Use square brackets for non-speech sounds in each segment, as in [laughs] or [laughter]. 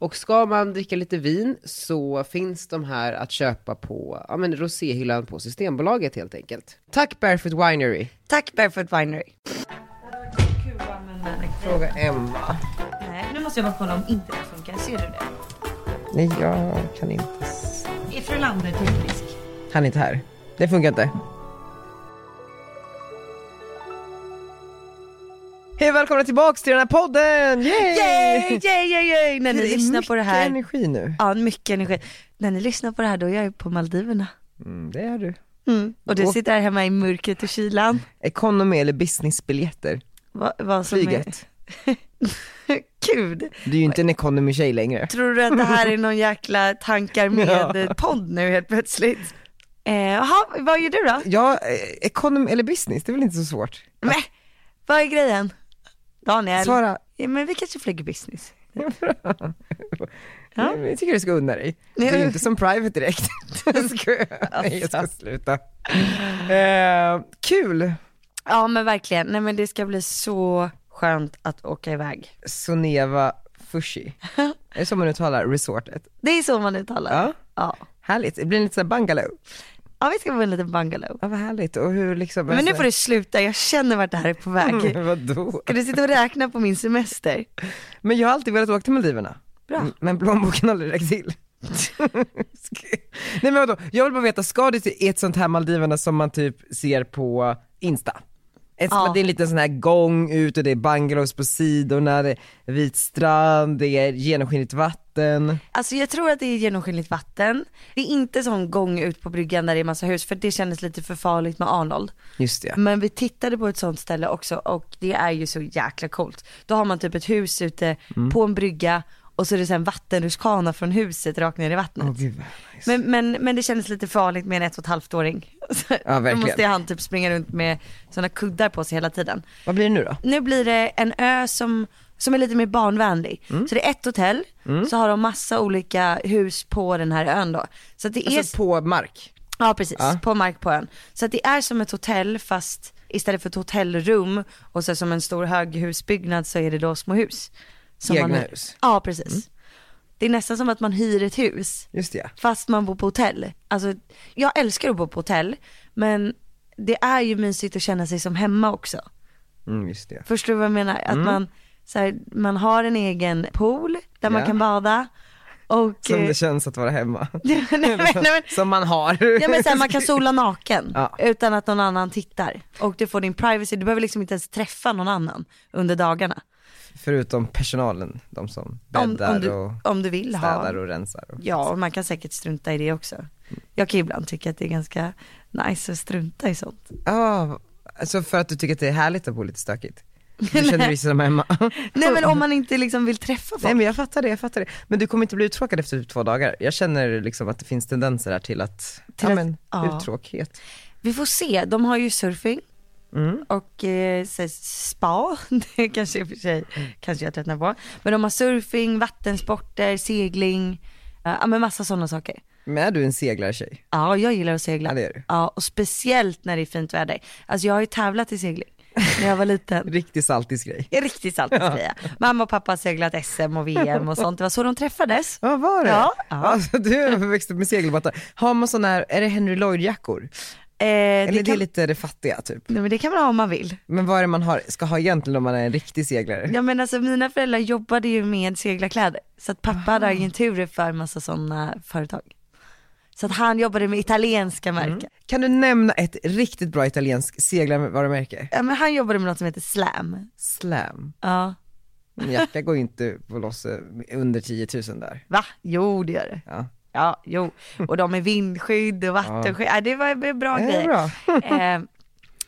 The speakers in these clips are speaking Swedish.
Och ska man dricka lite vin så finns de här att köpa på ja, men roséhyllan på Systembolaget helt enkelt. Tack Barefoot Winery! Tack Barefoot Winery. Fråga Emma. Nej, nu måste jag bara kolla om inte det funkar. Ser du det? Nej, jag kan inte. s- Är Frölander teknisk? Han är inte här. Det funkar inte. Hej och välkomna tillbaks till den här podden! Yay! Yay, yay, yay, yay! När ni är lyssnar på det mycket här. energi nu. Ja, mycket energi. När ni lyssnar på det här då är jag ju på Maldiverna. Mm, det är du. Och du Åh. sitter här hemma i mörkret och kylan. Economy eller businessbiljetter? Va, vad som Flyget. Är... [laughs] Gud. Du är ju inte en economy-tjej längre. Tror du att det här [laughs] är någon jäkla tankar med Ja. eh, podd nu helt plötsligt? Eh, Jaha, vad gör du då? Ja, eh, economy eller business, det är väl inte så svårt? Men, vad är grejen? Daniel? Svara. Ja, men vi kanske flyger business. Ja. Ja. Jag tycker du ska unna dig. Det är ju inte som private direkt. [laughs] Jag Alltså. skojar. Nej, jag ska sluta. Eh, kul! Ja men verkligen, nej men det ska bli så skönt att åka iväg. Soneva Fushi. Är det så man uttalar resortet? Det är så man uttalar Ja. Ja, Härligt, det blir lite såhär bungalow. ja vi ska på en liten bungalow. Ja, vad härligt. Och hur liksom... Men nu får [laughs] du sluta, jag känner vart det här är på väg. Mm. Vadå? Ska du sitta och räkna på min semester? Men jag har alltid velat åka till Maldiverna. Bra. M- Men plånboken har aldrig räckt till. [laughs] Sk- Nej men vadå, jag vill bara veta, ska du till ett sånt här Maldiverna som man typ ser på Insta? Ett, Ja. Det är en liten sån här gång ut och det är bungalows på sidorna, det är vit strand, det är genomskinligt vatten. Alltså jag tror att det är genomskinligt vatten. Det är inte sån gång ut på bryggan där det är massa hus för det kändes lite för farligt med Arnold. Just det. Men vi tittade på ett sånt ställe också och det är ju så jäkla coolt. Då har man typ ett hus ute Mm. på en brygga och så är det så här en vattenrutschkana från huset rakt ner i vattnet. Åh, gud, vad nice. Men, men, men det kändes lite farligt med en ett och ett halvt åring. [laughs] Ja, Då verkligen. måste han typ springa runt med sådana kuddar på sig hela tiden. Vad blir det nu då? Nu blir det en ö som, som är lite mer barnvänlig. Mm. Så det är ett hotell, så har de massa olika hus på den här ön då. Så att det är, Alltså på mark? ja precis, Ja. på mark på ön. Så att det är som ett hotell fast istället för ett hotellrum och så som en stor höghusbyggnad så är det då små hus. Som Egna hyr. hus. Mm. Ja precis. Det är nästan som att man hyr ett hus Just det ja. fast man bor på hotell. Alltså, jag älskar att bo på hotell, men det är ju mysigt att känna sig som hemma också. Mm, just det. Förstår du vad jag menar? Att Mm. man, så här, man har en egen pool där man Ja. kan bada och... Som eh, det känns att vara hemma. [laughs] nej, men, nej, men, Som man har. ja, men så här, man kan sola naken Ja. utan att någon annan tittar. Och du får din privacy, du behöver liksom inte ens träffa någon annan under dagarna. [laughs] Förutom personalen, de som Om, bäddar om, och du, om du vill ha. städar och rensar. Och... Ja, och man kan säkert strunta i det också. Jag kan ibland tycka att det är ganska nice att strunta i sånt. Ja, alltså för att du tycker att det är härligt att bo lite [laughs] stökigt? Du känner dig som hemma? [laughs] Nej men om man inte liksom vill träffa folk. Nej men jag fattar det, jag fattar det. Men du kommer inte bli uttråkad efter typ två dagar? Jag känner liksom att det finns tendenser här till att, Till ja att- men, ja. uttråkighet. Vi får se, de har ju surfing Mm. och eh, så här spa, [laughs] det kanske i och för sig Mm. kanske jag tröttnar på. Men de har surfing, vattensporter, segling, eh, ja men massa sådana saker. Men är du en seglartjej? Ja jag gillar att segla. Ja, det är du. Ja och speciellt när det är fint väder. Alltså jag har ju tävlat i segling när jag var liten. Riktig saltis grej. Det är Riktigt saltigt ja. Mamma och pappa har seglat SM och VM och sånt, det var så de träffades. Eh, Ja var det? Ja, ja. Alltså, du växte upp med segelbåtar. Har man sådana här, är det Henry Lloyd-jackor? Eh, Eller det, det är kan, lite det fattiga typ? nej, men det kan man ha om man vill. Men vad är det man har, ska ha egentligen om man är en riktig seglare? Ja men alltså mina föräldrar jobbade ju med seglarkläder. Så att pappa hade Ah. agenturer för massa sådana företag. Så att han jobbade med italienska Mm. märken. Kan du nämna ett riktigt bra italienskt seglarvarumärke? Ja men han jobbade med något som heter slam. Slam. Ja. Min jacka går ju inte på loss eh, under 10 000 där. Va? Jo det gör det. Ja. Ja, Ah. Eh. jo. Och de är vindskydd och vattenskydd. Ja. det var bra [laughs] Det är grejer. bra. Eh,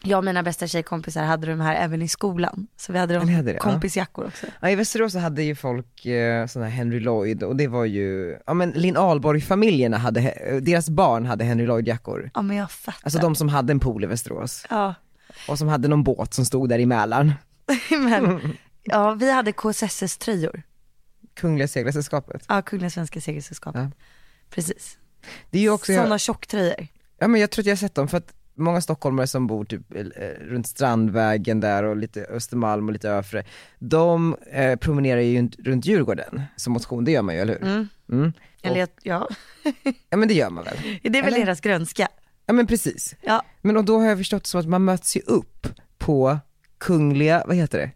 jag och mina bästa tjejkompisar hade de här även i skolan. Så vi hade de Ni hade det, ja. kompisjackor också. Ja, I Västerås så hade ju folk eh, sådana här Henry Lloyd och det var ju, ja men Linn Ahlborg-familjerna hade, he- eh, deras barn hade Henry Lloyd-jackor. Ja men jag fattar. Alltså de som hade en pool i Västerås Ja, [laughs] och som hade någon båt som stod där i Mälaren. men, [laughs] ja vi hade KSSs tröjor. Kungliga seglarsällskapet. Ja, Kungliga Svenska Segelsällskapet. Precis. Det är ju också, Sådana jag, tjocktröjor. ja men jag tror att jag har sett dem för att många stockholmare som bor typ eh, runt Strandvägen där och lite Östermalm och lite Öfre, de eh, promenerar ju inte runt Djurgården som motion, det gör man ju eller hur? Mm. Mm. Eller jag- ja, Ja men det gör man väl? det är väl Eller? deras grönska. Ja men precis. Ja, Men och då har jag förstått som att man möts ju upp på Kungliga, vad heter det?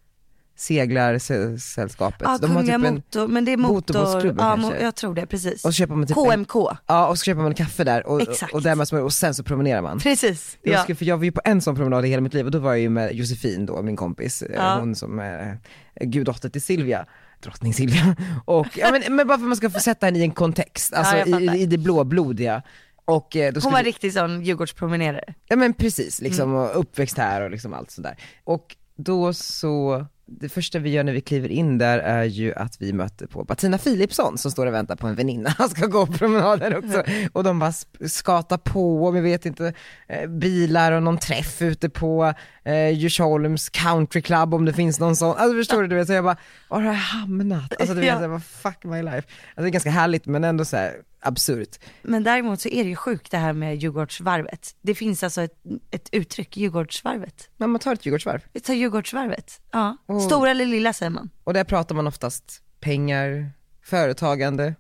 Seglarsällskapet. ja de har Kungliga typ en, motor, men det är motor, motorbåtsklubben ja, mo- kanske. jag tror det, precis. och så köper man typ en, KMK, ja och så köper man kaffe där och, Exakt. och, där möts man, och sen så promenerar man. precis. Jag, Ja. skulle, för jag var ju på en sån promenad i hela mitt liv och då var jag ju med Josefin då, min kompis, eh, Ja. hon som är eh, guddotter till Silvia, drottning Silvia. [laughs] Och, ja, men, men bara för att man ska få sätta henne i en kontext, alltså jag i, fattar. i det blåblodiga. Och, eh, då Hon skulle var riktigt sån Djurgårdspromenerare. Ja men precis, liksom och uppväxt här och liksom allt sådär. Och då så, det första vi gör när vi kliver in där är ju att vi möter på Bettina Philipsson som står och väntar på en väninna, han ska gå promenaden också. Och de bara sp- skatar på, och vi vet inte, eh, bilar och någon träff ute på eh, Djursholms country club om det finns någon sån. Alltså förstår du, du vet, så jag bara, var har jag hamnat? Alltså du vet, Ja. så här, vad fuck my life. Alltså det är ganska härligt men ändå så här absurt. Men däremot så är det ju sjukt det här med Djurgårdsvarvet. Det finns alltså ett, ett uttryck, Djurgårdsvarvet. Men man tar ett Djurgårdsvarv. Vi tar Djurgårdsvarvet. Ja. Och- Stora eller lilla säger man. Och där pratar man oftast pengar, företagande,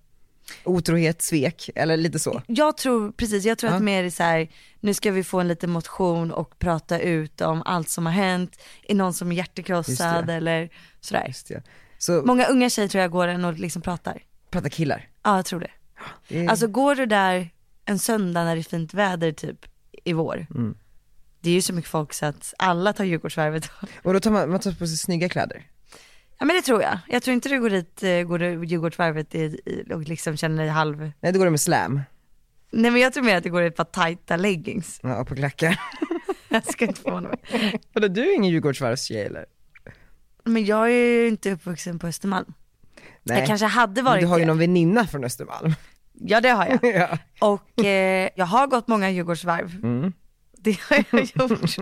otrohet, svek eller lite så. Jag tror, precis, jag tror Ja. att mer är så här, nu ska vi få en liten motion och prata ut om allt som har hänt. Är någon som är Just hjärtekrossad det. eller sådär. Just det. Så Många unga tjejer tror jag går den och liksom pratar. pratar killar. Ja, jag tror det. Det är- Alltså går du där en söndag när det är fint väder typ i vår. Mm. Det är ju så mycket folk så att alla tar Djurgårdsvarvet. Och då tar man, man tar på sig snygga kläder. Ja men det tror jag. Jag tror inte du går dit, eh, går du Djurgårdsvarvet i, i, och liksom känner dig halv. Nej då går det med slam Nej men jag tror mer att du går i ett par tajta leggings. [laughs] ja, och på klackar. [laughs] Jag ska inte förvåna mig. Vadå du är ingen Djurgårdsvarvstjej eller? Men jag är ju inte uppvuxen på Östermalm. Nej. Jag kanske hade Men varit du har ju det. någon väninna från Östermalm. [laughs] Ja det har jag. ja. Och eh, jag har gått många Djurgårdsvarv. [laughs] Det har jag gjort.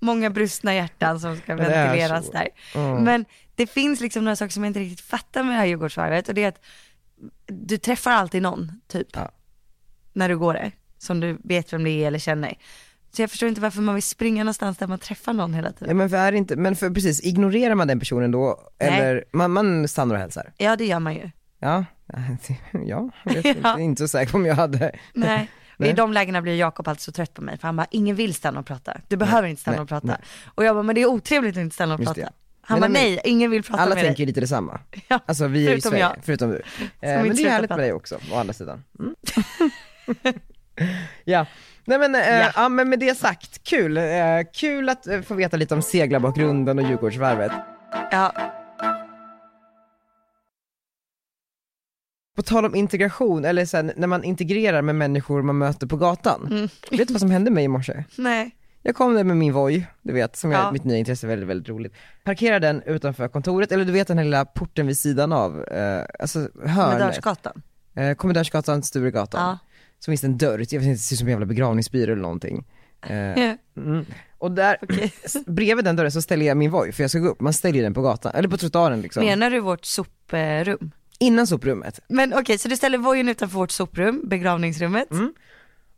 många brustna hjärtan som ska det är ventileras så. där. Mm. Men det finns liksom några saker som jag inte riktigt fattar med det här Djurgårdsvarvet och det är att du träffar alltid någon typ Ja. när du går det som du vet vem det är eller känner. Så jag förstår inte varför man vill springa någonstans där man träffar någon hela tiden. Ja, men för är det inte, men för precis, ignorerar man den personen då Nej. eller man, man stannar och hälsar? Ja det gör [laughs] man ju. Ja, ja, jag vet inte, [laughs] Ja. inte så säker på om jag hade. Nej. Och I de lägena blir Jakob alltid så trött på mig för han bara, ingen vill stanna och prata. Du behöver inte stanna Nej. och prata. Nej. Och jag bara, men det är otrevligt att inte stanna och Just prata. det. Han Men bara, nej, nej, ingen vill prata Alla med dig. tänker ju lite detsamma. [laughs] Ja. Alltså vi är ju i Förutom Sverige, jag. förutom du. Eh, men inte det är slutar härligt med prata. dig också, å andra sidan. Mm. [laughs] ja, nej men, eh, ja. Ja. men med det sagt, kul. Eh, kul att eh, få veta lite om seglarbakgrunden och Djurgårdsvarvet. Ja, På tal om integration, eller sen när man integrerar med människor man möter på Mm. gatan. Vet du vad som hände mig i morse? nej. Jag kom där med min Voi, du vet, som är Ja. mitt nya intresse, väldigt, väldigt roligt. Parkerar den utanför kontoret, eller du vet den här lilla porten vid sidan av, eh, alltså hörnet. Kommendörsgatan. Eh, Kommendörsgatan, Sturegatan. Ja. så finns det en dörr, jag vet inte, det ser ut som en jävla begravningsbyrå eller någonting. Eh, Ja. [laughs] mm. Och där, Okej. s- bredvid den dörren så ställer jag min Voi, för jag ska gå upp, man ställer ju den på gatan, eller på trottoaren liksom. Menar du vårt soprum? Innan soprummet. Men okej, så du ställer vojen utanför vårt soprum, begravningsrummet. Mm.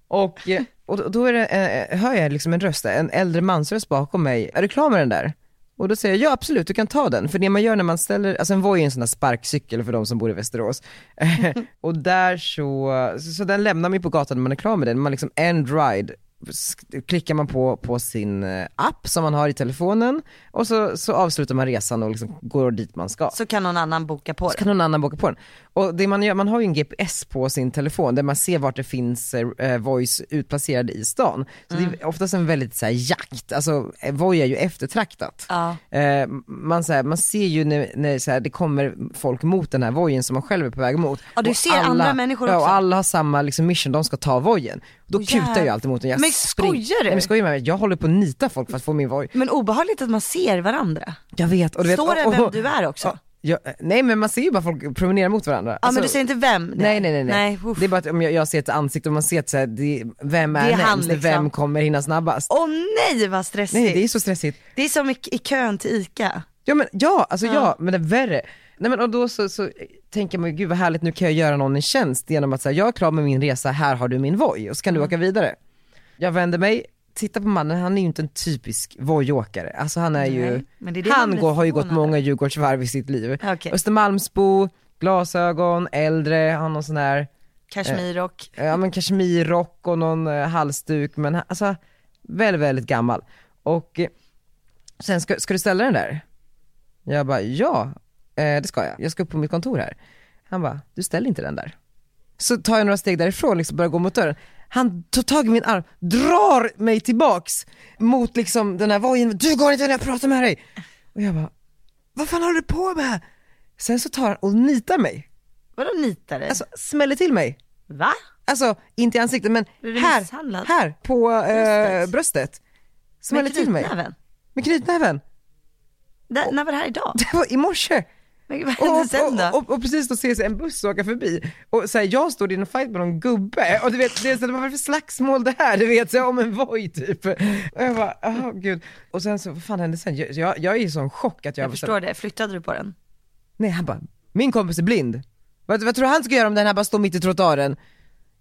Och, eh, och då- då är det, eh, hör jag liksom en röst där, en äldre mansröst bakom mig, är du klar med den där? Och då säger jag ja absolut, du kan ta den. För det man gör när man ställer, alltså en Voi är en sån där sparkcykel för de som bor i Västerås. [laughs] och där så, så, så den lämnar man ju på gatan när man är klar med den, man liksom end ride sk- klickar man på, på sin eh, app som man har i telefonen och så, så avslutar man resan och liksom går dit man ska. Så kan någon annan boka på Så det. kan någon annan boka på den. Och det man gör, man har ju en GPS på sin telefon där man ser vart det finns eh, eh, Voice utplacerade i stan. Så Mm. det är oftast en väldigt så här, jakt, alltså eh, Voi är ju eftertraktat. Ja. Eh, man, så här, man ser ju när, när så här, det kommer folk mot den här vojen som man själv är på väg mot. Ja, du Och ser andra människor ja, också. och alla har samma liksom, mission, de ska ta vojen. Då Åh, kutar ju jävlar. alltid mot den, jag Men spring. skojar du? Nej, men skojar med mig? Jag håller på att nita folk för att få min Voi. Men obehagligt att man ser varandra. Jag vet, och du vet. Står det och- vem och- du är också? Ja, jag, eh, nej men man ser ju bara folk promenera mot varandra. Alltså, Ja men du säger inte vem det är. Nej nej nej, nej. uff. det är bara att om jag, jag ser ett ansikte och man ser att så här, det, vem är, Det är han, närmst, liksom. vem kommer hinna snabbast? Åh nej vad stressigt. Nej det det, är... är så stressigt. som i, i kön till ICA. Ja men ja, alltså Ja. ja, men det är värre. Nej men och då så, så tänker man ju, gud vad härligt nu kan jag göra någon en tjänst genom att säga jag är klar med min resa, här har du min voj och så kan Mm. du åka vidare. Jag vänder mig, tittar på mannen, han är ju inte en typisk vojåkare. Alltså han är ju, Nej, men det är det man han blir går, har ju gått förvånad många Djurgårdsvarv i sitt liv. över. Okej, Östermalmsbo, glasögon, äldre, har någon sån här, kashmir och eh, ja men kashmirrock och någon eh, halsduk men han- alltså väldigt, väldigt gammal. Och eh, sen ska, ska du ställa den där? Jag bara ja, eh, det ska jag. Jag ska upp på mitt kontor här. Han bara, du ställer inte den där. Så tar jag några steg därifrån liksom börjar gå mot dörren. Han tar tag i min arm, drar mig tillbaks mot liksom den här vojen, du går inte när jag pratar med dig. Och jag bara, vad fan håller du på med? Sen så tar han och nitar mig, vadå nitare? alltså smäller till mig. Va? Alltså inte i ansiktet men Blev du här, misshandlad? här på Bröstet? eh, bröstet. Smäller till mig. knytnäven? Med knytnäven. [laughs] Där- När var det här idag? Det var i morse. Men vad Och, hände sen då? och, och, och precis då ses en buss åka förbi och så här, jag står i en fight med någon gubbe och du vet, det är så här, vad är det för slagsmål det här? Du vet, så här, om en voj typ. Och jag bara, åh gud. Och sen så, vad fan hände sen? Jag, jag, jag är i sån chock att jag, Jag förstår det, flyttade du på den? Nej han bara, min kompis är blind. Vad, vad tror du han ska göra om den här bara står mitt i trottoaren?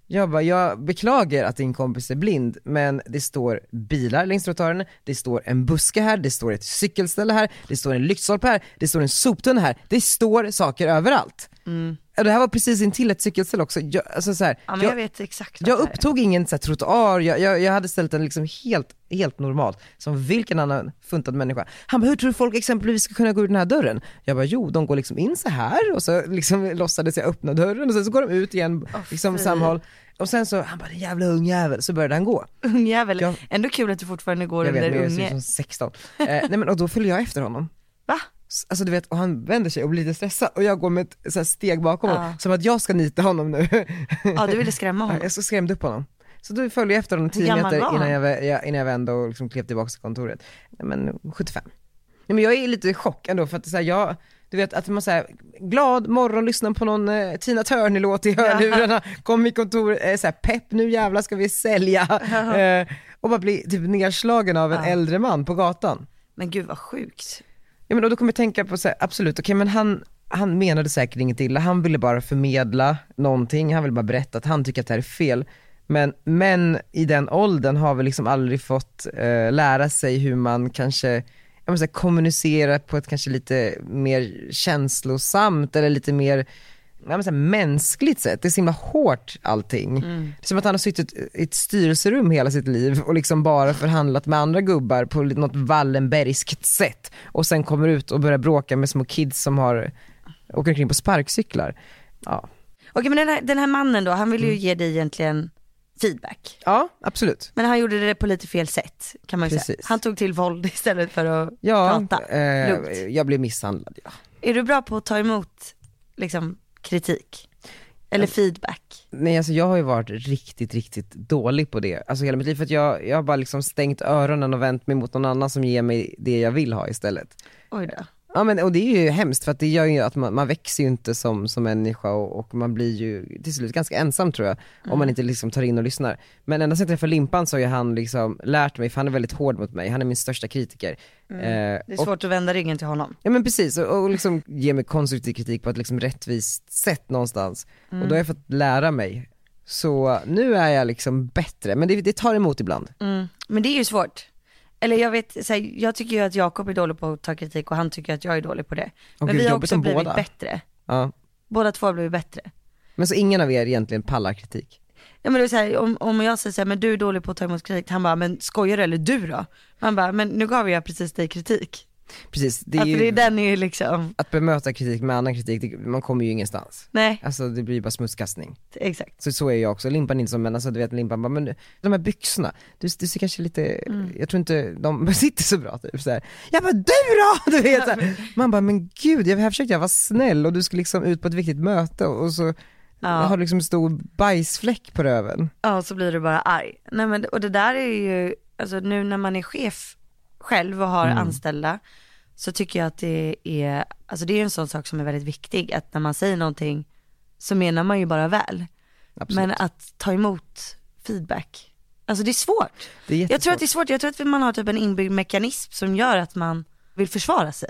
Jag bara, jag beklagar att din kompis är blind, men det står bilar längs trottoaren, det står en buske här, det står ett cykelställe här, det står en lyktstolpe här, det står en soptunna här, det står saker överallt. Och Det här var precis intill ett cykelställe också, jag, alltså så här, Mm. Ja men jag, jag, vet exakt vad jag det här är. upptog ingen så här, trottoar, jag, jag, jag hade ställt den liksom helt, helt normalt, som vilken annan funtad människa. Han bara, hur tror du folk exempelvis ska kunna gå ur den här dörren? Jag bara, jo de går liksom in så här och så liksom [laughs] låtsades jag öppna dörren och sen så går de ut igen, liksom fy. samhåll. Och sen så, han bara, den jävla ungjävel, så började han gå. [laughs] Ungjävel, Jag- ändå kul att du fortfarande går Jag vet, under men jag ser ut unge. som 16. Eh, nej men och då följer jag efter honom. Va? S- Alltså du vet, och han vänder sig och blir lite stressad och jag går med ett så här, steg bakom Ja. honom, som att jag ska nita honom nu. [laughs] Ja du ville skrämma Ja, honom. jag så skrämde upp honom. Så då följde jag efter honom Hur 10 gammal meter var han? innan jag, vä- jag, innan jag vände och liksom klev tillbaka till kontoret. Nej, men 75. Nej, men jag är lite i chock ändå för att så här, jag, du vet att man säger glad morgon, lyssnar på någon eh, Tina Turner-låt i hörlurarna, kom i kontoret, eh, så här, pepp nu jävlar ska vi sälja. Eh, och bara bli typ nedslagen av en Ja. äldre man på gatan. Men gud vad sjukt. Ja, men och då kommer jag tänka på så här, absolut, okej men han, han menade säkert inget illa, han ville bara förmedla någonting, han ville bara berätta att han tycker att det här är fel. Men män i den åldern har väl liksom aldrig fått eh, lära sig hur man kanske jag menar, så här, kommunicera på ett kanske lite mer känslosamt eller lite mer jag menar, så här, mänskligt sätt. Det är så himla hårt allting. Mm. Det är som att han har suttit i ett styrelserum hela sitt liv och liksom bara förhandlat med andra gubbar på lite- något Wallenbergskt sätt och sen kommer ut och börjar bråka med små kids som har, åker omkring på sparkcyklar. Ja, Okej men den här, den här mannen då, han Mm. ville ju ge dig egentligen feedback. ja absolut. Men han gjorde det på lite fel sätt kan man ju säga. Precis. Han tog till våld [laughs] istället för att Ja, prata. Lugnt. eh, jag blev misshandlad. Ja. Är du bra på att ta emot liksom, kritik? Eller feedback? Nej alltså jag har ju varit riktigt, riktigt dålig på det. Alltså hela mitt liv. För att jag, jag har bara liksom stängt öronen och vänt mig mot någon annan som ger mig det jag vill ha istället. Oj då. Ja men och det är ju hemskt för att det gör ju att man, man växer ju inte som, som människa och, och man blir ju till slut ganska ensam tror jag. Om Mm. man inte liksom tar in och lyssnar. Men ända sedan jag träffade Limpan så har ju han liksom lärt mig, för han är väldigt hård mot mig, han är min största kritiker. Eh, Mm. Det är och- svårt att vända ryggen till honom. Ja men precis, och, och liksom ge mig konstruktiv kritik på ett liksom rättvist sätt någonstans. Och då Mm. har jag fått lära mig. Så nu är jag liksom bättre, men det, det tar emot ibland. Men det är ju svårt. Eller jag vet, så här, jag tycker ju att Jakob är dålig på att ta kritik och han tycker att jag är dålig på det. Åh, Men gud, vi har jobbigt också om blivit båda. bättre. Ja. Båda två har blivit bättre. Men så ingen av er egentligen pallar kritik. Ja men det är så här, om, om jag säger så här, men du är dålig på att ta emot kritik, han bara, men skojar du eller du då? Han bara, men nu gav jag precis dig kritik. Precis, det Det är är ju, det, den är ju liksom, att bemöta kritik med annan kritik, det, man kommer ju ingenstans. nej, Alltså det blir bara smutskastning. exakt. Så, så är jag också, Limpan är inte som men alltså du vet Limpan bara, men de här byxorna, du, du ser kanske lite, Mm. jag tror inte de [laughs] sitter så bra typ så här. Jag bara du då! [laughs] Du vet så här. Man bara, men gud, jag, här försökte jag vara snäll och du ska liksom ut på ett viktigt möte och så Jag Ja. har liksom stor bajsfläck på röven. ja, så blir du bara arg. Nej men och det där är ju, alltså nu när man är chef själv och har anställda så tycker jag att det är, alltså det är en sån sak som är väldigt viktig att när man säger någonting så menar man ju bara väl. Absolut. Men att ta emot feedback, alltså det är svårt. Det är Jag tror att jättesvårt. det är svårt, jag tror att man har typ en inbyggd mekanism som gör att man vill försvara sig.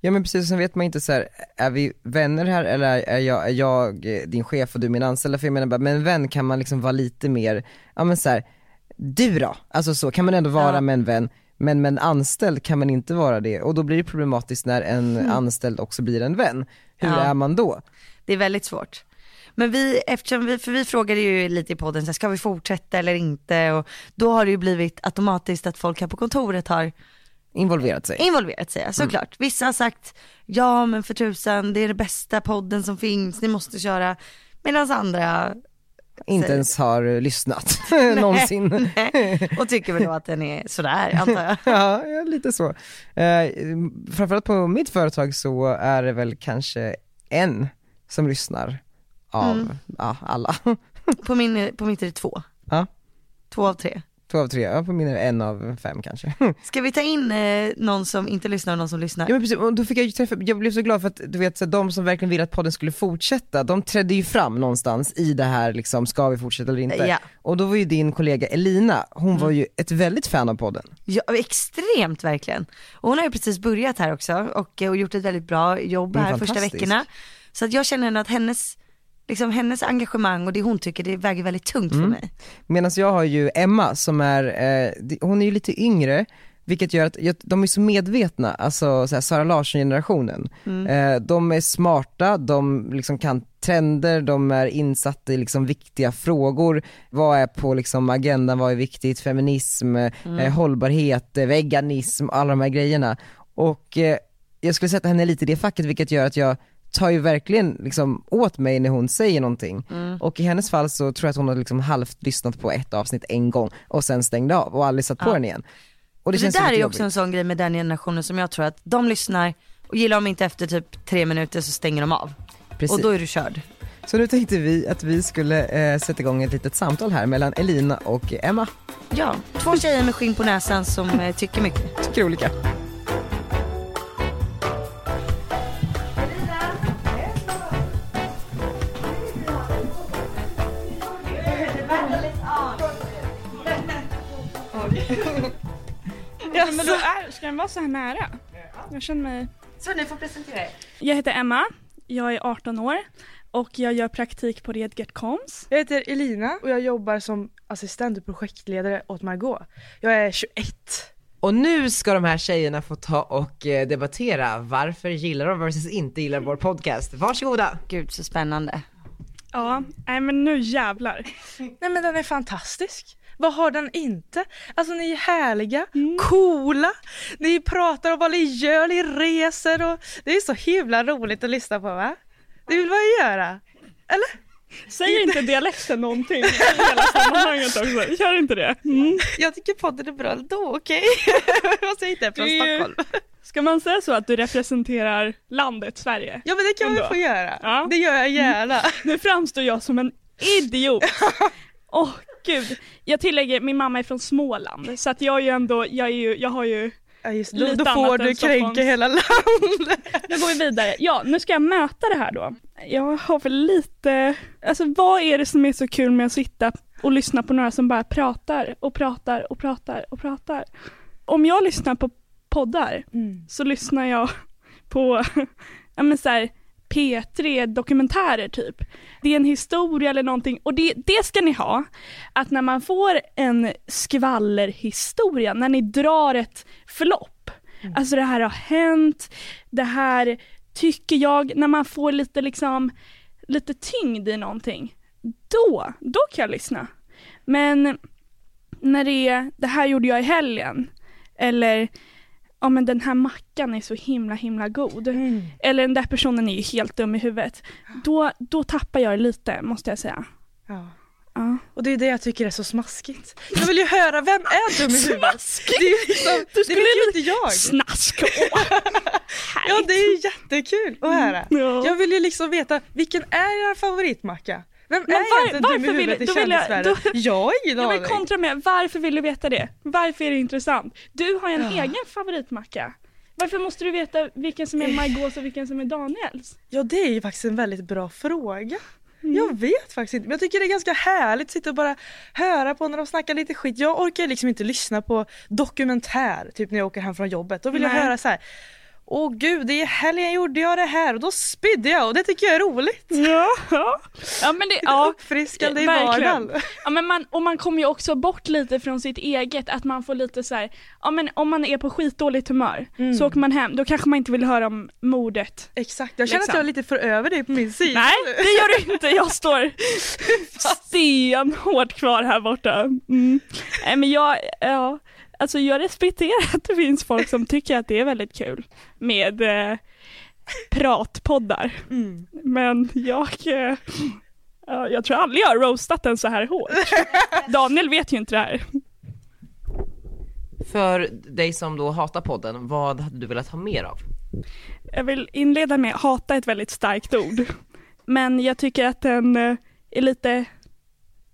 Ja men precis, sen vet man inte så här, är vi vänner här eller är- är jag, är jag eh, din chef och du min anställda? För jag menar bara, med en vän kan man liksom vara lite mer, ja men så här, du då? Alltså så kan man ändå vara Ja. med en vän, men med en anställd kan man inte vara det. Och då blir det problematiskt när en anställd också blir en vän. Hur Mm. Ja. är man då? Det är väldigt svårt. Men vi, eftersom vi, för vi frågade ju lite i podden, så här, ska vi fortsätta eller inte? Och då har det ju blivit automatiskt att folk här på kontoret har Involverat sig. involverat sig, såklart. Vissa har sagt, ja men för tusan, det är den bästa podden som finns, ni måste köra. Medan andra inte säger- ens har eh, lyssnat [laughs] [laughs] någonsin. nej, och tycker väl då att den är sådär, antar jag. [laughs] Ja, ja, lite så. Eh, framförallt på mitt företag så är det väl kanske en som lyssnar av ja, alla. [laughs] På, min, på mitt är det två. Ja. Två av tre. Två av tre, ja, på min är det en av fem kanske. [laughs] Ska vi ta in eh, någon som inte lyssnar och någon som lyssnar? Ja men precis, och då fick jag ju träffa, jag blev så glad för att du vet så här, de som verkligen ville att podden skulle fortsätta, de trädde ju fram någonstans i det här liksom, ska vi fortsätta eller inte? Ja. Och då var ju din kollega Elina, hon var ju ett väldigt fan av podden. Ja, extremt verkligen. Och hon har ju precis börjat här också och, och gjort ett väldigt bra jobb Hon är här första fantastisk. veckorna. Så att jag känner ändå att hennes, liksom hennes engagemang och det hon tycker det väger väldigt tungt Mm. för mig. Medan jag har ju Emma som är, eh, det- hon är ju lite yngre, vilket gör att jag, de är så medvetna, alltså så här, Sara Larsson-generationen. Eh, de är smarta, de liksom kan trender, de är insatta i liksom viktiga frågor. Vad är på liksom agendan, vad är viktigt, feminism, eh, hållbarhet, eh, veganism, alla de här grejerna. Och eh, jag skulle sätta henne lite i det facket vilket gör att jag tar ju verkligen liksom åt mig när hon säger någonting. Och i hennes fall så tror jag att hon har liksom halvt lyssnat på ett avsnitt en gång och sen stängde av och aldrig satt på den igen. Och det, Det, det känns där är lite ju jobbigt. också en sån grej med den generationen som jag tror att de lyssnar och gillar de inte efter typ tre minuter så stänger de av. Precis. Och då är du körd. Så nu tänkte vi att vi skulle eh, sätta igång ett litet samtal här mellan Elina och Emma. Ja, två tjejer med skinn på näsan som eh, tycker mycket. Tycker olika. Ja, men då är, ska den vara så här nära? Jag känner mig... Alltså. Så ni får presentera er. Jag heter Emma, jag är 18 år och jag gör praktik på Redgert Koms. Jag heter Elina och jag jobbar som assistent och projektledare åt Margot. Jag är 21. Och nu ska de här tjejerna få ta och eh, debattera varför gillar de versus inte gillar vår podcast. Varsågoda! Gud så spännande. Ja, nej men nu jävlar. Nej men den är fantastisk. Vad har den inte? Alltså ni är härliga, Mm. coola, ni pratar om vad ni gör, ni reser och det är så himla roligt att lyssna på va? Det vill man ju göra. Eller? Säger inte dialekten någonting i hela sammanhanget också? Gör inte det? Mm. Jag tycker podden är bra ändå, okej? [laughs] Fast jag inte är från Det är ju- Stockholm. Ska man säga så att du representerar landet Sverige? Ja men det kan man Ändå. väl få göra. Ja. Mm. Det gör jag gärna. Nu framstår jag som en idiot. Åh gud. Jag tillägger, min mamma är från Småland så att jag är ju ändå, jag, är ju, jag har ju Ja, just, Lite det. då annat får än du kränka Stockholms. hela landet. Nu går vi vidare. Ja, nu ska jag möta det här då. Jag har för lite, alltså vad är det som är så kul med att sitta och lyssna på några som bara pratar och pratar och pratar och pratar. Om jag lyssnar på poddar så lyssnar jag på, ja men så här, P3 dokumentärer typ. Det är en historia eller någonting och det, det ska ni ha. Att när man får en skvallerhistoria, när ni drar ett förlopp. Alltså det här har hänt, det här tycker jag, när man får lite liksom, lite tyngd i någonting. Då, då kan jag lyssna. Men när det är, det här gjorde jag i helgen. Eller, ja men den här mackan är så himla himla god. Eller den där personen är ju helt dum i huvudet. Då, då tappar jag det lite, måste jag säga. Ja. Ja. Och det är det jag tycker är så smaskigt. Jag vill ju höra, vem är dum i huvudet? Smaskigt! Det, är liksom, Du det skulle vet ju inte jag. [laughs] Snask! Åh. Ja det är ju jättekul att höra. Ja. Jag vill ju liksom veta, vilken är er favoritmacka? Vem Men är var- egentligen dum i varför vill- huvudet i då vill jag- kändisvärlden? då- Jag har ingen Jag aning. vill kontra med, varför vill du veta det? Varför är det intressant? Du har en egen favoritmacka. Varför måste du veta vilken som är Eh. Margaux och vilken som är Daniels? Ja det är ju faktiskt en väldigt bra fråga. Mm. Jag vet faktiskt inte men jag tycker det är ganska härligt att sitta och bara höra på när de snackar lite skit. Jag orkar ju liksom inte lyssna på dokumentär typ när jag åker hem från jobbet. Då vill Nej. jag höra så här. Åh gud, i helgen gjorde jag det här och då spydde jag och det tycker jag är roligt. Ja, ja men det, ja. Uppfriskande i Verkligen. vardagen. Ja, men man, och man kommer ju också bort lite från sitt eget, att man får lite så här, ja men om man är på skitdåligt humör Mm. så åker man hem, då kanske man inte vill höra om mordet. Exakt, jag känner Liksom. att jag är lite för över dig på min [laughs] sida. Nej, det gör du inte, jag står stenhårt kvar här borta. Mm. Nej men jag, ja, alltså jag respekterar att det finns folk som tycker att det är väldigt kul med eh, pratpoddar, Mm. men jag eh, ja, jag tror aldrig jag har roastat den så här hårt. Daniel vet ju inte det här. För dig som då hatar podden, vad hade du velat ha mer av? Jag vill inleda med att hata är ett väldigt starkt ord. Men jag tycker att den eh, är lite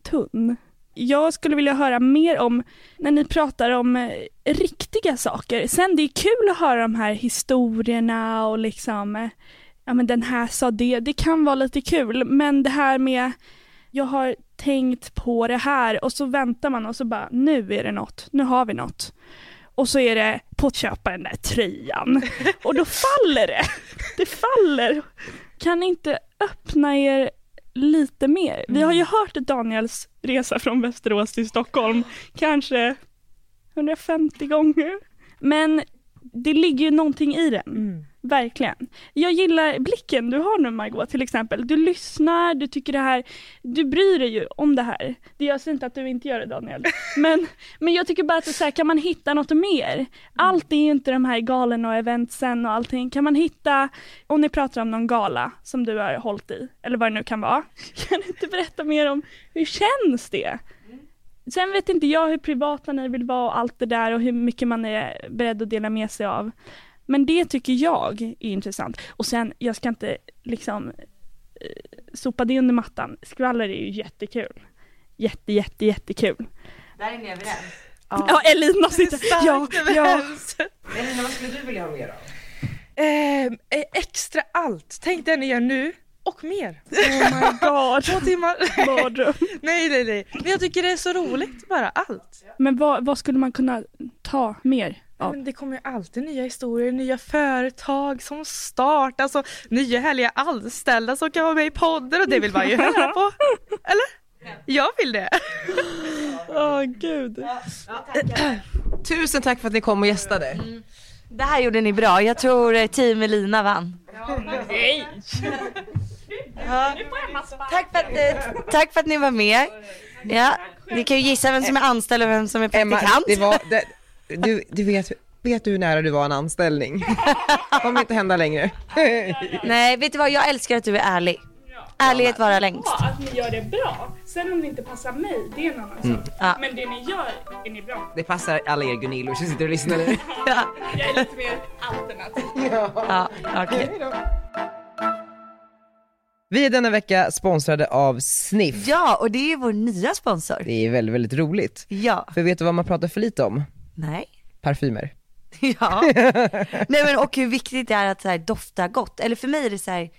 tunn. Jag skulle vilja höra mer om när ni pratar om eh, riktiga saker. Sen det är kul att höra de här historierna och liksom eh, ja men den här sa det, det kan vara lite kul men det här med jag har tänkt på det här och så väntar man och så bara nu är det något, nu har vi något. Och så är det på att köpa den där tröjan och då faller det. Det faller. Kan ni inte öppna er lite mer? Vi har ju hört Daniels resa från Västerås till Stockholm kanske 150 gånger. Men det ligger ju någonting i den. Verkligen. Jag gillar blicken du har nu Margot till exempel. Du lyssnar, du tycker det här, du bryr dig ju om det här. Det gör sig inte att du inte gör det Daniel. Men, men jag tycker bara att det är så här, kan man hitta något mer? Allt är ju inte de här galen och eventsen och allting. Kan man hitta, om ni pratar om någon gala som du har hållit i, eller vad det nu kan vara. [laughs] Kan du inte berätta mer om hur känns det? Sen vet inte jag hur privata ni vill vara och allt det där och hur mycket man är beredd att dela med sig av. Men det tycker jag är intressant. Och sen, jag ska inte liksom eh, sopa det under mattan. Skvaller är ju jättekul. Jätte, jätte, jättekul. Där är ni överens. Ja, Elina sitter... Ja, ja. Elina, vad skulle du vilja ha mer av? Ehm, eh, extra allt, tänk det ni gör nu och mer. Oh my Två god. timmar. [laughs] Mardröm. nej, nej, nej. Men jag tycker det är så roligt, bara allt. Men vad, vad skulle man kunna ta mer av? Men det kommer ju alltid nya historier, nya företag som startas och nya härliga anställda som kan vara med i podden och det vill man ju höra på. Eller? Jag vill det. Åh gud. Tusen tack för att ni kom och gästade. Det här gjorde ni bra. Jag tror eh, team Elina vann. Ja, nej! Tack, för att, eh, tack för att ni var med. Ja, ni kan ju gissa vem som är anställd och vem som är Emma, praktikant. det var, det, du, du vet, vet du hur nära du var en [laughs] anställning? kommer inte hända längre. Nej, vet du vad? Jag älskar att du är ärlig. Ärlighet varar längst. Att ni gör det bra. Sen om det inte passar mig, det är en annan sak. Ja. Men det ni gör är ni bra. [laughs] Det passar alla er Gunillor som sitter och lyssnar nu. Jag är lite mer alternativ. Ja, okej. Vi är denna vecka sponsrade av Sniff. Ja, och det är vår nya sponsor. Det är väldigt, väldigt roligt. Ja. För vet du vad man pratar för lite om? Nej. [laughs] Parfymer. Ja. Nej men och hur viktigt det är att så här, dofta gott. Eller för mig är det så här,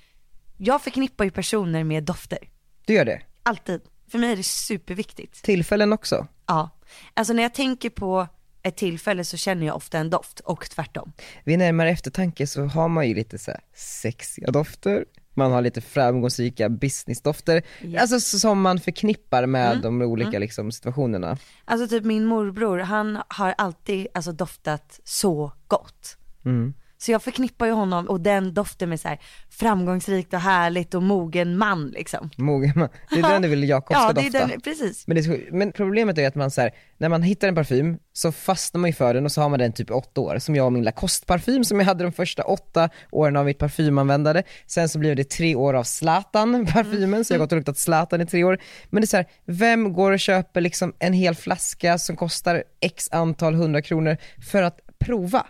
jag förknippar ju personer med dofter. Du gör det? Alltid. För mig är det superviktigt. Tillfällen också? Ja. Alltså när jag tänker på ett tillfälle så känner jag ofta en doft och tvärtom. Vid närmare eftertanke så har man ju lite så här sexiga dofter, man har lite framgångsrika businessdofter, alltså s- som man förknippar med Mm. de olika liksom, situationerna. Alltså typ min morbror, han har alltid alltså doftat så gott. Mm. Så jag förknippar ju honom och den doften med så här framgångsrikt och härligt och mogen man liksom. Mogen man. Det är den du vill Jakob ska ja, det dofta. är den, precis. Men, det är, så- men problemet är ju att man så här, när man hittar en parfym så fastnar man ju för den och så har man den typ i åtta år. Som jag och min La Coste-parfym som jag hade de första åtta åren av mitt parfymanvändande. Sen så blev det tre år av [laughs] Zlatan-parfymen, så jag har gått och luktat Zlatan i tre år. Men det är så här, vem går och köper liksom en hel flaska som kostar x antal hundra kronor för att prova?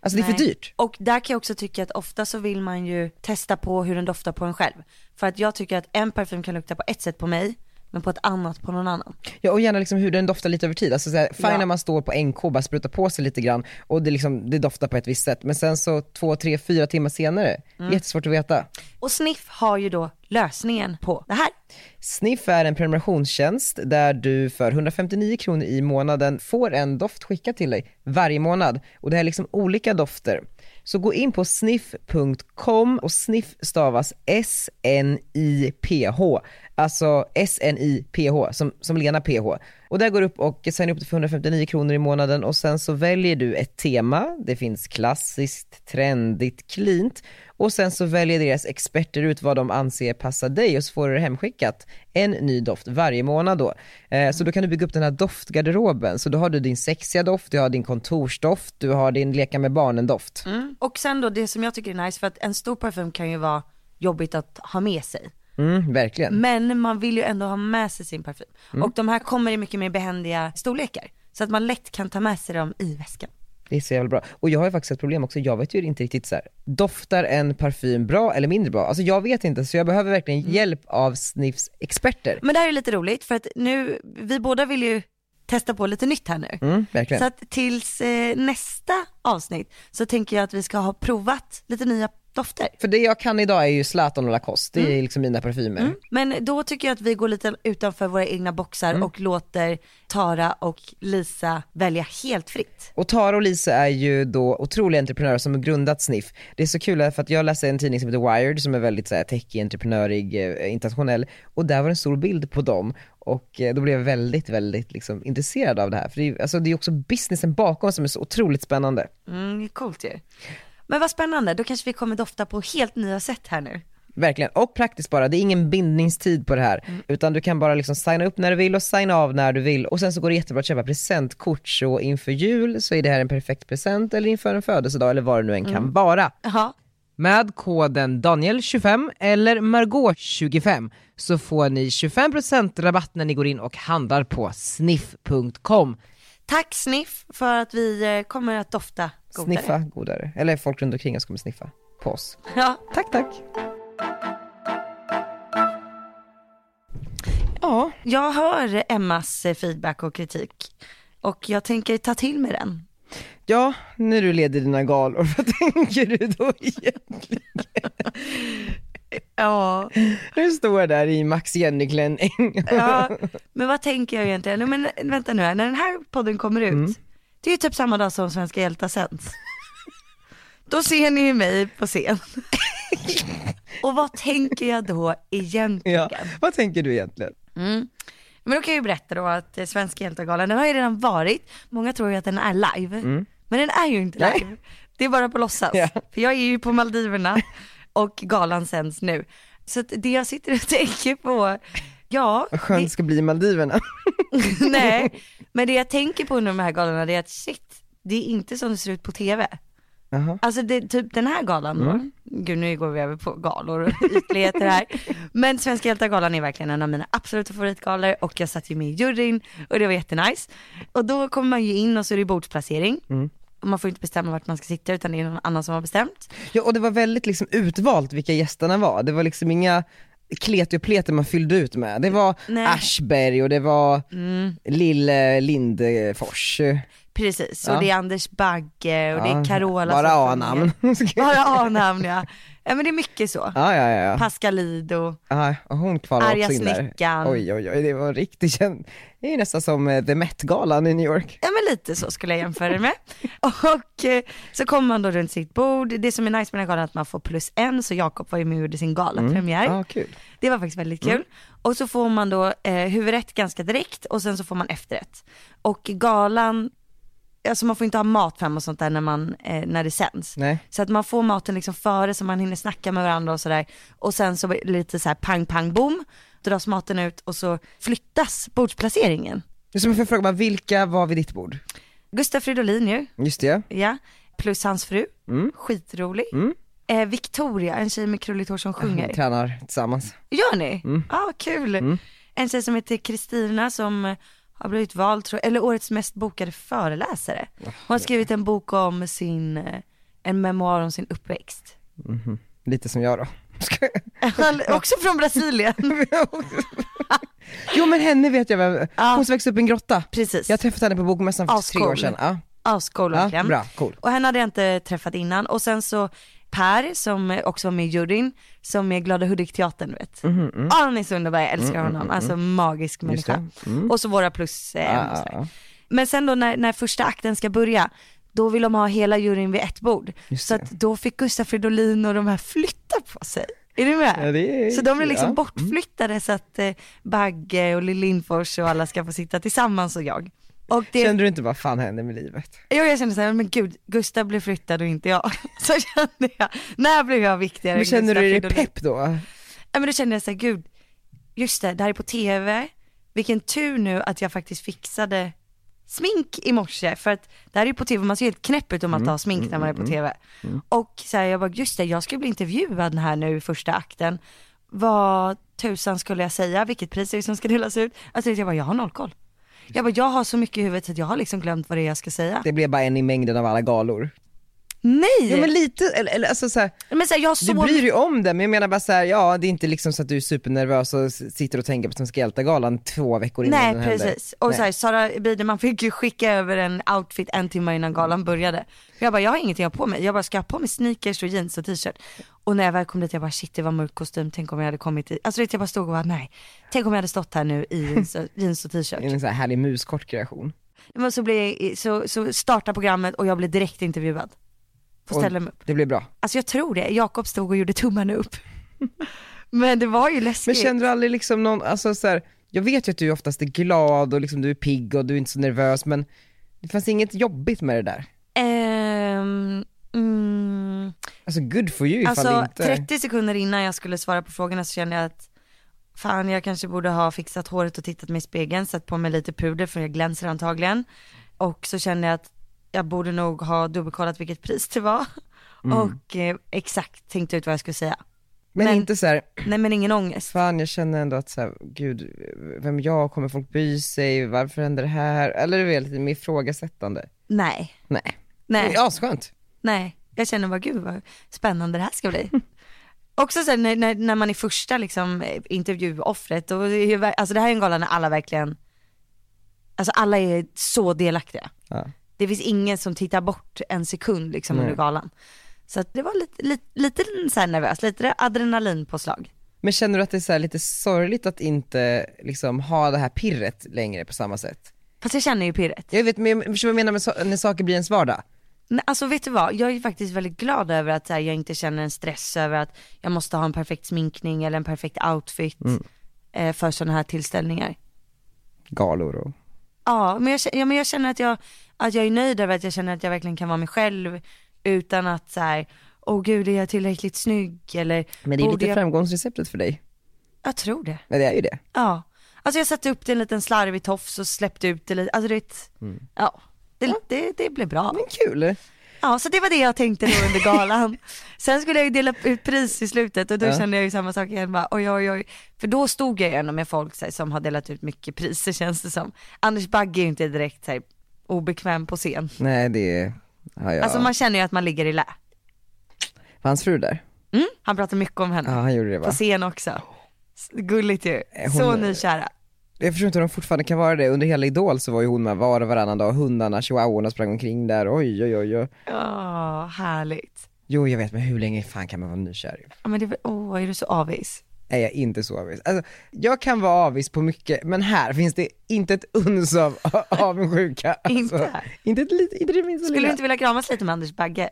Alltså det är för Nej. dyrt. Och där kan jag också tycka att ofta så vill man ju testa på hur den doftar på en själv. För att jag tycker att en parfym kan lukta på ett sätt på mig, men på ett annat på någon annan. Ja, och gärna liksom hur den doftar lite över tid. Alltså såhär, fine Ja. när man står på NK och bara sprutar på sig lite grann och det, liksom, det doftar på ett visst sätt. Men sen så två, tre, fyra timmar senare, jättesvårt att veta. Och Sniff har ju då lösningen på det här. Sniff är en prenumerationstjänst där du för 159 kronor i månaden får en doft skickad till dig varje månad. Och det här är liksom olika dofter. Så gå in på sniff.com och sniff stavas S-N-I-P-H. Alltså S-N-I-P-H, som, som Lena PH. Och där går du upp och signar upp dig för 159 kronor i månaden och sen så väljer du ett tema. Det finns klassiskt, trendigt, cleant. Och sen så väljer deras experter ut vad de anser passar dig och så får du det hemskickat. En ny doft varje månad då. Eh, så då kan du bygga upp den här doftgarderoben. Så då har du din sexiga doft, du har din kontorsdoft, du har din leka med barnen-doft. Mm. Och sen då det som jag tycker är nice, för att en stor parfym kan ju vara jobbigt att ha med sig. Mm, verkligen. Men man vill ju ändå ha med sig sin parfym. Mm. Och de här kommer i mycket mer behändiga storlekar. Så att man lätt kan ta med sig dem i väskan. Det är så jävla bra. Och jag har ju faktiskt ett problem också, jag vet ju inte riktigt så här. doftar en parfym bra eller mindre bra? Alltså jag vet inte, så jag behöver verkligen hjälp av Sniffs experter. Men det här är lite roligt för att nu, vi båda vill ju testa på lite nytt här nu. Mm, verkligen. Så att tills eh, nästa avsnitt så tänker jag att vi ska ha provat lite nya dofter. För det jag kan idag är ju Zlatan och Lacoste, det är liksom mina parfymer. Men då tycker jag att vi går lite utanför våra egna boxar Mm. och låter Tara och Lisa välja helt fritt. Och Tara och Lisa är ju då otroliga entreprenörer som har grundat Sniff. Det är så kul här, för att jag läste en tidning som heter Wired som är väldigt så här, techig, entreprenörig, eh, internationell och där var det en stor bild på dem och eh, då blev jag väldigt, väldigt liksom, intresserad av det här. För det är ju alltså, det är ju också businessen bakom som är så otroligt spännande. Mm, det är coolt ju. Men vad spännande, då kanske vi kommer dofta på helt nya sätt här nu. Verkligen, och praktiskt bara. Det är ingen bindningstid på det här. Utan du kan bara liksom signa upp när du vill och signa av när du vill. Och sen så går det jättebra att köpa presentkort. Så inför jul så är det här en perfekt present eller inför en födelsedag eller vad det nu än kan vara. Ja, Med koden Daniel25 eller Margot25 så får ni 25% rabatt när ni går in och handlar på sniff.com. tack Sniff för att vi eh, kommer att dofta godare. Sniffa godare. Eller folk runt omkring oss kommer sniffa på oss. Ja. Tack, tack. Ja, Jag hör Emmas eh, feedback och kritik och jag tänker ta till mig den. Ja, när du leder dina galor, [laughs] vad tänker du då [laughs] egentligen? Ja. Du står där i Max Jenny-klänning. [laughs] [laughs] ja. Men vad tänker jag egentligen? Nej, Men vänta nu här, när den här podden kommer ut, Mm. det är ju typ samma dag som Svenska hjältar sänds. Då ser ni ju mig [laughs] på scen. och vad tänker jag då egentligen? Ja. Vad tänker du egentligen? Mm. Men då kan jag ju berätta då att eh, Svenska hjältargalan, den har ju redan varit, många tror ju att den är live, men den är ju inte Mm. Nej. live. Det är bara på låtsas, Ja. för jag är ju [laughs] på Maldiverna och galan sänds nu. Så att det jag sitter och [laughs] tänker på, ja, Vad skönt det ska bli i Maldiverna. [laughs] det, [laughs] nej, men det jag tänker på under de här galorna det är att shit, det är inte som det ser ut på tv. Jaha. Alltså det, typ den här galan då, Mm. gud nu går vi över på galor och ytligheter [laughs] här. Men Svenska hjältar-galan är verkligen en av mina absoluta favoritgalor och jag satt ju med i juryn och det var jättenice. Och då kommer man ju in och så är det bordsplacering. Mm. Och man får inte bestämma vart man ska sitta utan det är någon annan som har bestämt. Ja, och det var väldigt liksom utvalt vilka gästerna var. Det var liksom inga kletiga pleter man fyllde ut med. Det var Nej. Aschberg och det var Mm. Lille Lindfors. Precis, Ja. och det är Anders Bagge och det Ja, är Carola Bara som sjunger. A-namn. Bara A-namn ja. Ja men det är mycket så. [laughs] ja, ja, ja. ja. Pascalido. Ja, och hon kvalar Arga också in där. snickaren. Oj, oj, oj, det var riktigt känd. Det är ju nästan som eh, The Met-galan i New York. Ja men lite så skulle jag jämföra det med. Och eh, så kommer man då runt sitt bord. Det som är nice med den här galan är att man får plus en, så Jakob var ju med och gjorde sin galapremiär. Ja, kul. Det var faktiskt väldigt kul. Och så får man då eh, huvudrätt ganska direkt och sen så får man efterrätt. Och galan, alltså man får inte ha mat fram och sånt där när, man, eh, när det sänds. Nej. Så att man får maten liksom före så man hinner snacka med varandra och sådär. Och sen så blir det lite så här pang pang bom, dras maten ut och så flyttas bordsplaceringen. Det är som en fråga, bara, vilka var vid ditt bord? Gustaf Fridolin ju, Just det, ja. Ja, plus hans fru, Mm. skitrolig. Eh, Victoria, en tjej med krulligt hår som Vi sjunger. tränar tillsammans. Gör ni? Ja, Mm. ah, kul. En tjej som heter Kristina som eh, har blivit vald, tror, eller årets mest bokade föreläsare. Hon har skrivit en bok om sin eh, en memoar om sin uppväxt. Mhm. Lite som jag då. [laughs] Ska jag- Han, också [laughs] från Brasilien. jo men henne vet jag vem, Ja. hon som växte upp i en grotta. Precis. Jag har träffat henne på bokmässan för tre Ascool. år sedan. Ja, Ascool ja, verkligen. bra, cool. Och henne hade jag inte träffat innan. Och sen så Per som också var med i juryn, som är Glada Hudik-teatern du vet. Mhm, mm. Ja, han är så underbar, Ah, jag älskar honom. Alltså Just magisk människa. det. Mm. Ah. Och så våra plus eh, en och Ja, sådär. ja, Men sen då när, när första akten ska börja, då vill de ha hela juryn vid ett bord. Just så det. att då fick Gustaf Fridolin och de här flytta på sig. Är du med? Ja, det är- så de är liksom ja. Mm. bortflyttade så att eh, Bagge och Lill Lindfors och alla ska få sitta tillsammans och jag. Och det, Kände du inte vad fan hände med livet? jo, jag kände så här, men gud, Gustav blev flyttad och inte jag. [laughs] Så kände jag, när blev jag viktigare Men än känner Gustav du dig Fridolin? pepp då? Ja men då kände jag så här, gud, just det, det här är på tv. Vilken tur nu att jag faktiskt fixade smink i morse. För att det här är ju på tv, man ser helt knäpp ut om Mm, man tar smink när man är på tv. Och så här, jag bara, just det, jag ska bli intervjuad här nu i första akten. Vad tusan skulle jag säga, vilket pris är det som ska delas ut? Alltså jag bara, jag har noll koll. Jag bara, jag har så mycket i huvudet så att jag har liksom glömt vad det är jag ska säga. Det blev bara en i mängden av alla galor. Nej! Ja men men lite, eller, eller alltså så här, så här, jag har du så bryr dig om det men jag menar bara så här, ja det är inte liksom så att du är supernervös och s- sitter och tänker på Svenska hjältar-galan två veckor innan Nej den precis, och Nej. så här, Sara Biderman fick ju skicka över en outfit en timme innan galan började. För jag bara, jag har ingenting jag har på mig. Jag bara, ska jag ha på mig sneakers och jeans och t-shirt? Och när jag väl kom dit, jag bara, shit det var mörk kostym, tänk om jag hade kommit i, alltså du vet, jag bara stod och bara, nej, tänk om jag hade stått här nu i jeans och, jeans och händer. t-shirt. En så här härlig muskort kreation. Men så, blev, så, så startade programmet och jag blev direkt intervjuad. På Och ställen upp. Det blev bra. Alltså jag tror det, Jakob stod och gjorde tummarna upp. [laughs] Men det var ju Men läskigt. känner du aldrig liksom någon, alltså så här, jag vet ju att du oftast är glad och liksom du är pigg och du är inte så nervös men det fanns inget jobbigt med det där. Ehm, mm, Alltså good for you ifall det Alltså inte... 30 sekunder innan jag skulle svara på frågorna så kände jag att fan jag kanske borde ha fixat håret och tittat mig i spegeln, satt på mig lite puder för jag glänser antagligen. Och så kände jag att jag borde nog ha dubbelkollat vilket pris det var. Mm. Och eh, exakt tänkte ut vad jag skulle säga. men, men- inte så här, Nej men ingen ångest. fan jag känner ändå att så här, gud, vem är jag, kommer folk bry sig, varför händer det här? Eller du vet, lite mer ifrågasättande. Nej, Nej. nej, Det är asskönt. nej. Jag känner bara gud vad spännande det här ska bli. [laughs] Också sen när, när, när man är första liksom, eh, intervjuoffret, och, det är ju ver- alltså det här är en gala när alla verkligen, alltså alla är så delaktiga. Ja. Det finns ingen som tittar bort en sekund liksom under galan. Så att det var lite, lite, lite så här nervöst, lite adrenalinpåslag. Men känner du att det är så här lite sorgligt att inte liksom ha det här pirret längre på samma sätt? Fast jag känner ju pirret. Jag vet, men jag förstår vad jag menar med so- när saker blir ens vardag. Nej, Alltså vet du vad, jag är faktiskt väldigt glad över att så här, jag inte känner en stress över att jag måste ha en perfekt sminkning eller en perfekt outfit eh, för sådana här tillställningar. Galor och... Ja men, jag, kä- ja, men jag känner att jag, att jag är nöjd över att jag känner att jag verkligen kan vara mig själv utan att så här, åh gud är jag tillräckligt snygg eller Men det är ju borde lite jag... framgångsreceptet för dig. jag tror det. Men det är ju det. Ja, alltså jag satte upp det i en liten slarvig tofs och släppte ut det lite, alltså du vet, ja. Det, det, det blev bra. Men kul. Ja, så det var det jag tänkte då under [laughs] galan. Sen skulle jag ju dela ut pris i slutet och då Ja. kände jag ju samma sak igen, bara, oj, oj, oj. För då stod jag ju ändå med folk så här, som har delat ut mycket priser känns det som. Anders Bagge är ju inte direkt så här, obekväm på scen. Nej det har jag. Alltså man känner ju att man ligger i lä. Var hans fru där? Mm? Han pratar mycket om Ja henne, han gjorde det på va? scen också. S- Gulligt ju, Eh, hon- så nykära. Jag förstår inte hur de fortfarande kan vara det. Under hela Idol så var ju hon med var och varannan dag. Hundarna, chihuahuorna sprang omkring där. Oj oj oj. oj. Ja, härligt. Jo jag vet men hur länge fan kan man vara nykär? Ja, men det var, åh, är du så avis? Nej jag är inte så avis. Alltså, jag kan vara avis på mycket men här finns det inte ett uns av [laughs] avundsjuka. Alltså, [laughs] Inte här. Inte, ett lit, inte det minsta Skulle lilla. du inte vilja kramas lite med Anders Bagge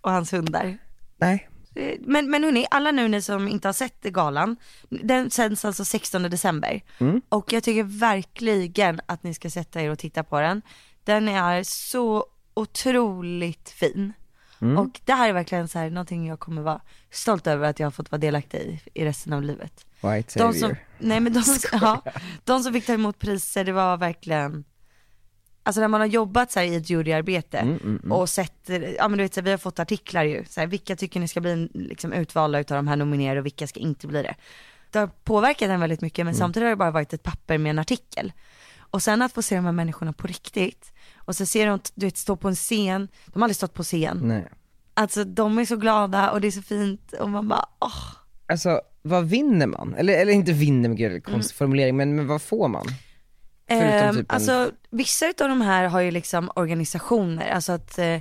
och hans hundar? Nej. Eh, Men, men hörni, alla nu ni som inte har sett galan, den sänds alltså 16 december. Och jag tycker verkligen att ni ska sätta er och titta på den. Den är så otroligt fin. Och det här är verkligen så här, någonting jag kommer vara stolt över att jag har fått vara delaktig i, i resten av livet. White savior. De som, nej men de, ja, de som fick ta emot priser, det var verkligen Alltså när man har jobbat så här i ett Mm. juryarbete och sett, ja men du vet så här, vi har fått artiklar ju, så här, vilka tycker ni ska bli liksom utvalda utav de här nominerade och vilka ska inte bli det. Det har påverkat en väldigt mycket men samtidigt har det bara varit ett papper med en artikel. Och sen att få se de här Mm. människorna på riktigt och så ser de, du vet, stå på en scen, de har aldrig stått på scen. Nej. Alltså de är så glada och det är så fint och man bara åh. Alltså vad vinner man? Eller, eller inte vinner, men gud, det Mm. är en konstig formulering, men, men vad får man? Förutom Ehm, typ en- Alltså vissa av de här har ju liksom organisationer, alltså att eh,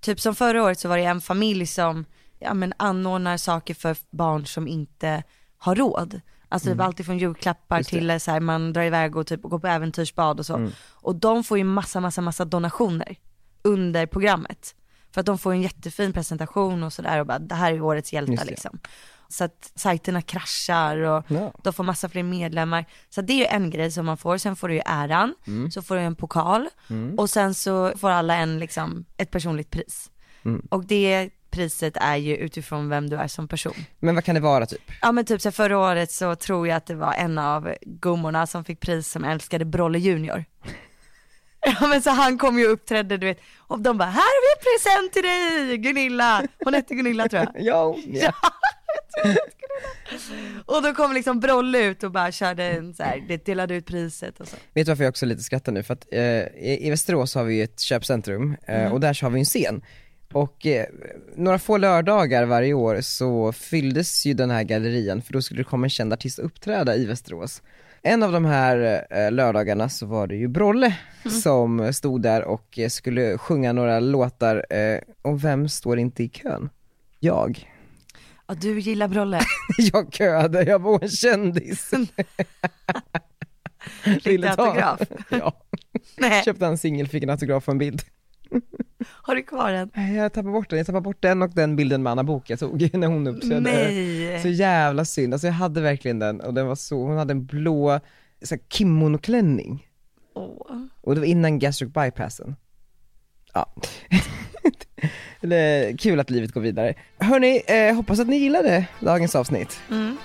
typ som förra året så var det en familj som ja, men anordnar saker för barn som inte har råd. Alltså Mm. typ allt ifrån julklappar till eh, så här, man drar iväg och typ går på äventyrsbad och så. Mm. Och de får ju massa, massa, massa donationer under programmet. För att de får en jättefin presentation och sådär och bara det här är årets hjältar Just det. liksom. Så att sajterna kraschar och Ja. de får massa fler medlemmar. Så det är ju en grej som man får, sen får du ju äran, så får du en pokal och sen så får alla en liksom ett personligt pris. Och det priset är ju utifrån vem du är som person. Men vad kan det vara typ? Ja men typ så här, förra året så tror jag att det var en av gummorna som fick pris som älskade Brolle Junior. [laughs] Ja men så han kom ju och uppträdde du vet, och de bara här har vi en present till dig Gunilla, hon hette Gunilla tror jag. [laughs] Ja, ja. Och då kom liksom Brolle ut och bara körde en så här, det delade ut priset och så. Vet du varför jag också lite skrattar nu? För att eh, i i Västerås har vi ju ett köpcentrum eh, och där så har vi en scen. Och eh, några få lördagar varje år så fylldes ju den här gallerian för då skulle det komma en känd artist och uppträda i Västerås. En av de här eh, lördagarna så var det ju Brolle som stod där och eh, skulle sjunga några låtar eh, och vem står inte i kön? Jag. [laughs] Ja du gillar Brolle, Jag köade, jag var en kändis. fick du autograf? [laughs] Ja, [laughs] Nej, köpte en singel, fick en autograf och en bild. har du kvar den? Nej, Jag tappade bort den, jag tappade bort den och den bilden med Anna Book jag tog [laughs] när hon uppträdde. Så Nej. jävla synd, alltså jag hade verkligen den och den var så, hon hade en blå så här, kimonoklänning Åh. och det var innan gastric bypassen. Ja. [laughs] Eller, kul att livet går vidare. Hörni, eh, hoppas att ni gillade dagens avsnitt. Mm.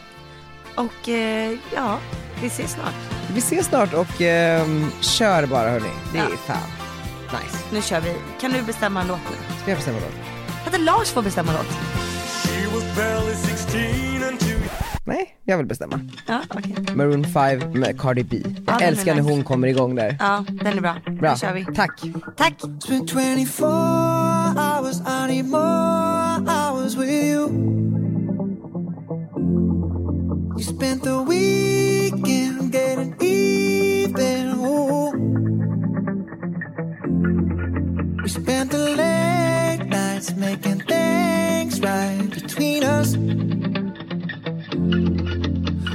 Och eh, ja, vi ses snart. Vi ses snart och ehm, kör bara hörni, det är Ja. fan nice. Nu kör vi. Kan du bestämma en låt nu? Ska jag bestämma låt? Hade Lars fått bestämma låt? She was barely 16 until Nej, jag vill bestämma. Ja, okej. Maroon 5 med Cardi B. Ja, Jag den är älskar när nice. hon kommer igång där. Ja, den är bra. Bra, Nu kör vi. tack. Tack. Spent 24 hours, I need more hours with you. You spent the weekend getting even. Ooh. We spent the late nights making things right between us.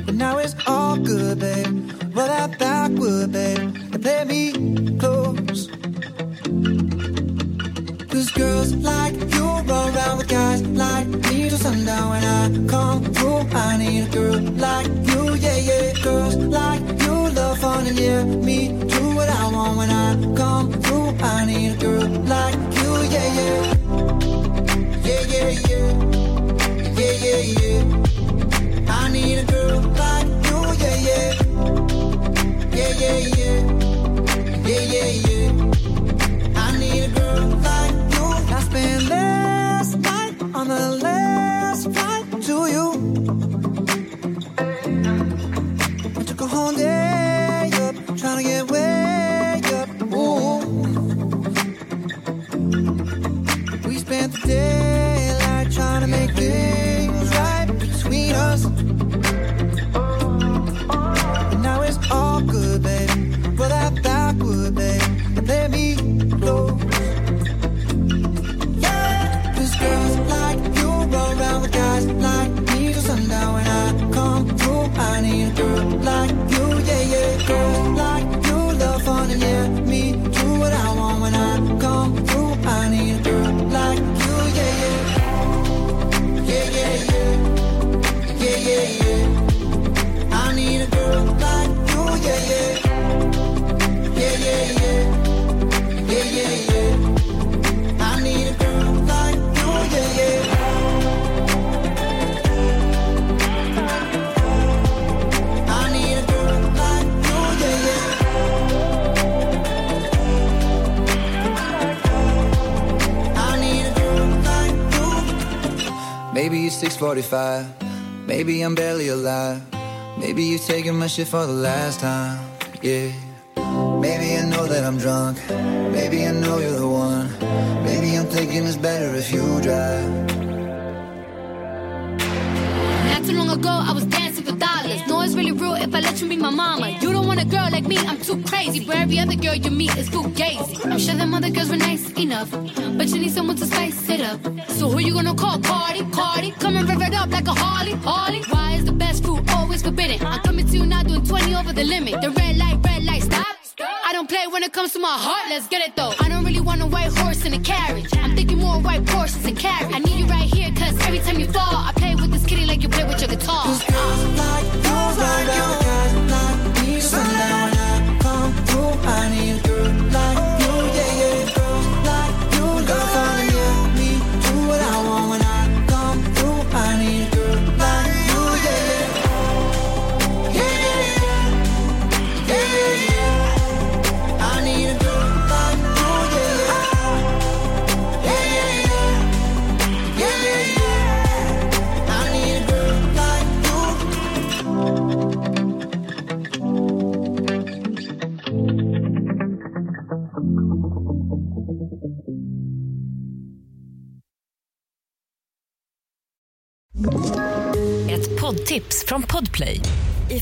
But now it's all good, babe. Roll out that wood, babe, and play me close. Cause girls like you roll around with guys like me till sundown when I come through. I need a girl like you, yeah, yeah. Girls like you love fun and yeah, me do what I want when I come through. I need a girl like you, yeah, yeah. Yeah, yeah, yeah. Yeah, yeah, yeah. I need a girl like you, yeah, yeah. Yeah, yeah, yeah. Yeah, yeah, yeah. I need a girl like you. I spent last night on the last flight to you. I took a whole day up, trying to get way up. Ooh. We spent the daylight trying to make things right between us. But now it's all good, baby. Roll out that wood, baby. And let me blow. Yeah, 'cause girls like you roll around with guys like me till sundown when I come through. I need a girl like you, yeah, yeah. Girls like you love fun and yeah, me do what I want when I come through. I need a girl like you, yeah, yeah. Yeah, yeah, yeah. Yeah, yeah, yeah. I need a girl like you, yeah, yeah. Yeah, yeah, yeah. Yeah, yeah, yeah. I need a girl like you, yeah, yeah. I need a girl like you, yeah, yeah. I need a girl like you. Maybe it's 645. Maybe I'm barely alive. Maybe you're taking my shit for the last time. Yeah. Maybe I know that I'm drunk. Maybe I know you're the one. Maybe I'm I'm thinking it's better if you drive. Not too long ago, I was dancing for dollars. No, it's really real if I let you be my mama. You don't want a girl like me, I'm too crazy. Where every other girl you meet is too gazy. I'm sure them other girls were nice enough, but you need someone to spice it up. So who you gonna call? Cardi, Cardi. Come and rev it up like a Harley, Harley. Why is the best food always forbidden? I'm coming to you now doing 20 over the limit. The red light, red light, stop. I don't play when it comes to my heart, let's get it though. I don't really want a white horse and a carriage. I'm thinking more white Porsches and carriage. I need you right here, cause every time you fall, I play with this kitty like you play with your guitar. like girls like you. Guys like me. Sundown when I come through, I need a girl like you. Yeah, yeah, girls like you. Love falling near me. Do what I want when I come through. I need a girl like you. Yeah, yeah. Yeah, yeah, yeah. Yeah, yeah, yeah. I need a girl like you. Yeah, yeah. Yeah, yeah, yeah. Yeah, yeah, yeah. I need a girl like you. Ett poddtips från Podplay. I